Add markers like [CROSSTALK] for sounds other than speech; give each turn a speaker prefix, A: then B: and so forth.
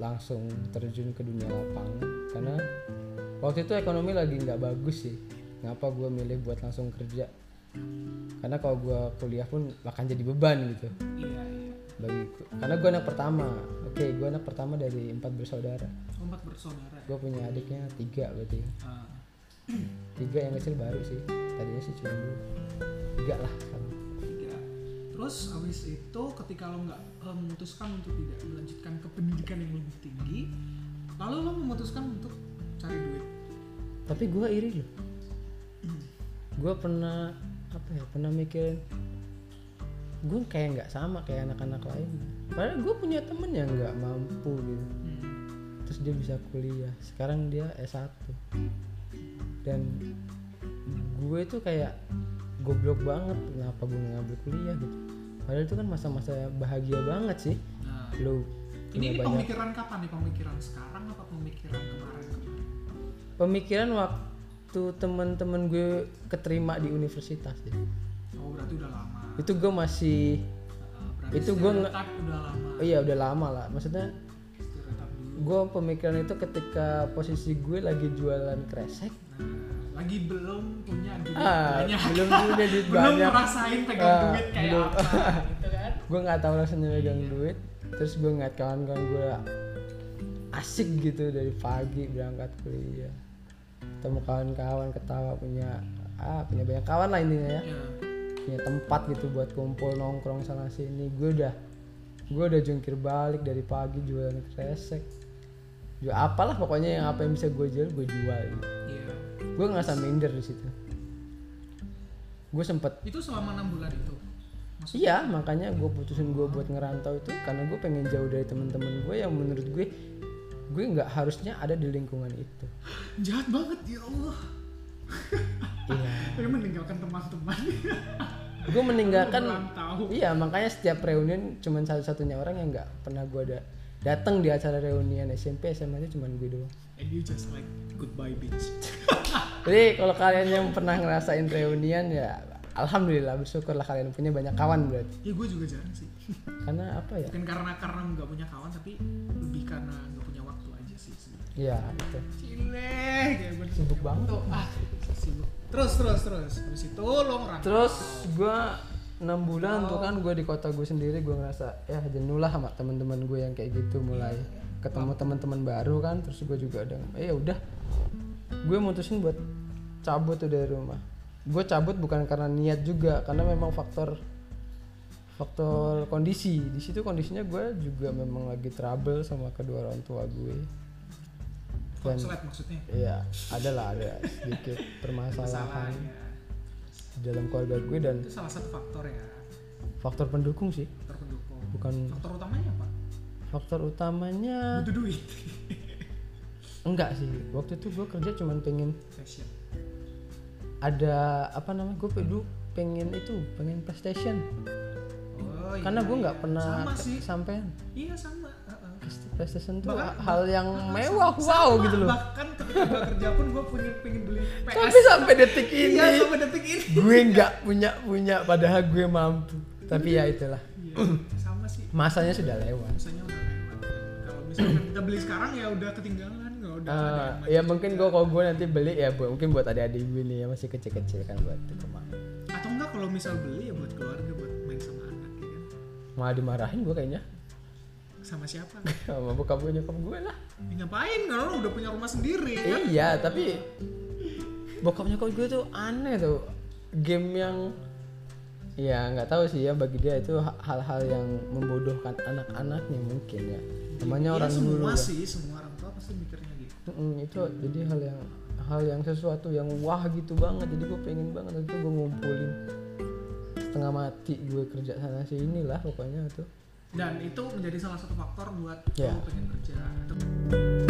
A: langsung terjun ke dunia lapangan karena waktu itu ekonomi lagi nggak bagus sih kenapa gue milih buat langsung kerja karena kalau gue kuliah pun akan jadi beban gitu
B: iya iya
A: bagi karena gue anak pertama oke gue anak pertama dari empat bersaudara
B: empat bersaudara ya.
A: gue punya adiknya tiga berarti
B: Ah,
A: tiga yang kecil baru sih tadinya sih cuma dua tiga lah sekarang
B: tiga terus habis itu ketika lo nggak eh, memutuskan untuk tidak melanjutkan ke pendidikan yang lebih tinggi lalu lo memutuskan untuk cari duit
A: tapi gue iri loh gue pernah apa ya pernah mikirin gue kayak nggak sama kayak anak-anak lain padahal gue punya temen yang nggak mampu gitu
B: Hmm,
A: terus dia bisa kuliah sekarang dia S1 dan gue itu kayak goblok banget kenapa gue nggak ngambil kuliah gitu padahal itu kan masa-masa bahagia banget sih
B: nah
A: lo
B: ini,
A: punya
B: ini
A: banyak
B: pemikiran kapan nih pemikiran sekarang apa pemikiran kemarin kemarin
A: pemikiran waktu temen-temen gue keterima di universitas ya. deh.
B: oh berarti udah lama
A: itu gue masih
B: Ah, berarti
A: Itu gua nge-
B: stereotip udah lama
A: oh iya udah lama lah maksudnya
B: stereotip dulu
A: gue pemikiran itu ketika posisi gue lagi jualan kresek
B: Nah, lagi belum punya duit
A: ah
B: banyak
A: belum punya duit
B: [LAUGHS] belum
A: banyak
B: ngerasain pegang
A: Ah,
B: duit kayak
A: belum.
B: apa
A: [LAUGHS]
B: gitu kan
A: gue nggak tahu rasanya megang duit terus gue ngeliat kawan-kawan gue asik gitu dari pagi berangkat kuliah ketemu kawan-kawan ketawa punya ah punya banyak kawan lah intinya ya
B: ya
A: punya tempat gitu buat kumpul nongkrong sana sini gue udah gue udah jungkir balik dari pagi jualan kresek jual apalah pokoknya yang apa yang bisa gue jual gue jual gitu.
B: iya
A: gue ngerasa minder di situ gue sempet
B: itu selama enam bulan itu maksudnya
A: Iya, makanya gue putusin gue buat ngerantau itu karena gue pengen jauh dari teman-teman gue yang menurut gue gue nggak harusnya ada di lingkungan itu.
B: jahat banget ya Allah
A: Iya.
B: Dia meninggalkan teman-teman
A: Gue
B: [LAUGHS]
A: meninggalkan.
B: tahu
A: Iya, makanya setiap reunian cuman satu-satunya orang yang nggak pernah gue ada datang di acara reunian SMP SMA itu cuman gue doang.
B: and you just like goodbye bitch
A: Jadi kalau kalian yang pernah ngerasain reunian ya alhamdulillah bersyukurlah kalian punya banyak kawan berarti.
B: ya gue juga jarang sih
A: Karena apa ya?
B: bukan karena karena nggak punya kawan tapi lebih karena nggak punya waktu aja sih sebenarnya.
A: Iya, itu.
B: Cile, kayak gue
A: Sibuk banget.
B: tuh ah sibuk terus terus terus habis itu lo ngerantau
A: Terus gue enam bulan tuh kan gue di kota gue sendiri gue ngerasa ya jenuh lah sama teman-teman gue yang kayak gitu mulai ketemu teman-teman baru kan terus gue juga ada eh ya udah gue mutusin buat cabut tuh dari rumah gue cabut bukan karena niat juga karena memang faktor faktor kondisi di situ kondisinya gue juga memang lagi trouble sama kedua orang tua gue dan
B: konslet maksudnya
A: ya adalah ada sedikit permasalahan
B: salahnya
A: di dalam keluarga gue dan
B: itu salah satu faktor ya
A: faktor pendukung sih
B: faktor pendukung
A: bukan
B: faktor utamanya apa
A: faktor utamanya
B: butuh duit [LAUGHS]
A: enggak sih waktu itu gue kerja cuman pengen
B: fashion
A: ada apa namanya gue dulu pengen itu pengen PlayStation
B: oh, iya,
A: karena gue nggak
B: iya.
A: pernah
B: sama sih
A: sampai
B: iya sama Heeh.
A: PlayStation tuh
B: Bahkan-
A: hal yang
B: Sama,
A: mewah
B: sama.
A: wow gitu loh
B: bahkan ketika gue kerja pun gue punya pengen beli PS
A: tapi sampai detik ini
B: iya sampai detik ini
A: gue nggak punya punya padahal gue mampu tapi ya itulah
B: iya sama sih
A: masanya sudah lewat
B: biasanya udah lewat kalau misalkan kita beli sekarang ya udah ketinggalan nggak udah ada
A: Eh, ya
B: yang
A: mungkin gue kalau gue nanti beli ya bu- mungkin buat adik-adik gue nih ya masih kecil-kecil kan buat kemarin
B: atau enggak kalau misal beli ya buat keluarga buat main sama anak ya kan
A: malah dimarahin gue kayaknya
B: sama siapa
A: sama bokap gue nyokap gue lah
B: Ya, ngapain kalau lo udah punya rumah sendiri ya kan
A: iya tapi bokap nyokap gue tuh aneh tuh game yang ya nggak tahu sih ya bagi dia itu ha- hal-hal yang membodohkan anak-anaknya mungkin ya namanya
B: Ya,
A: orang
B: semua
A: dulu ya.
B: sih semua orang tua pasti mikirnya gitu
A: Mm, itu jadi hal yang hal yang sesuatu yang wah gitu banget jadi gue pengen banget waktu itu gue ngumpulin setengah mati gue kerja sana sini lah pokoknya tuh
B: dan itu menjadi salah satu faktor buat
A: Ya.
B: lo pengen kerja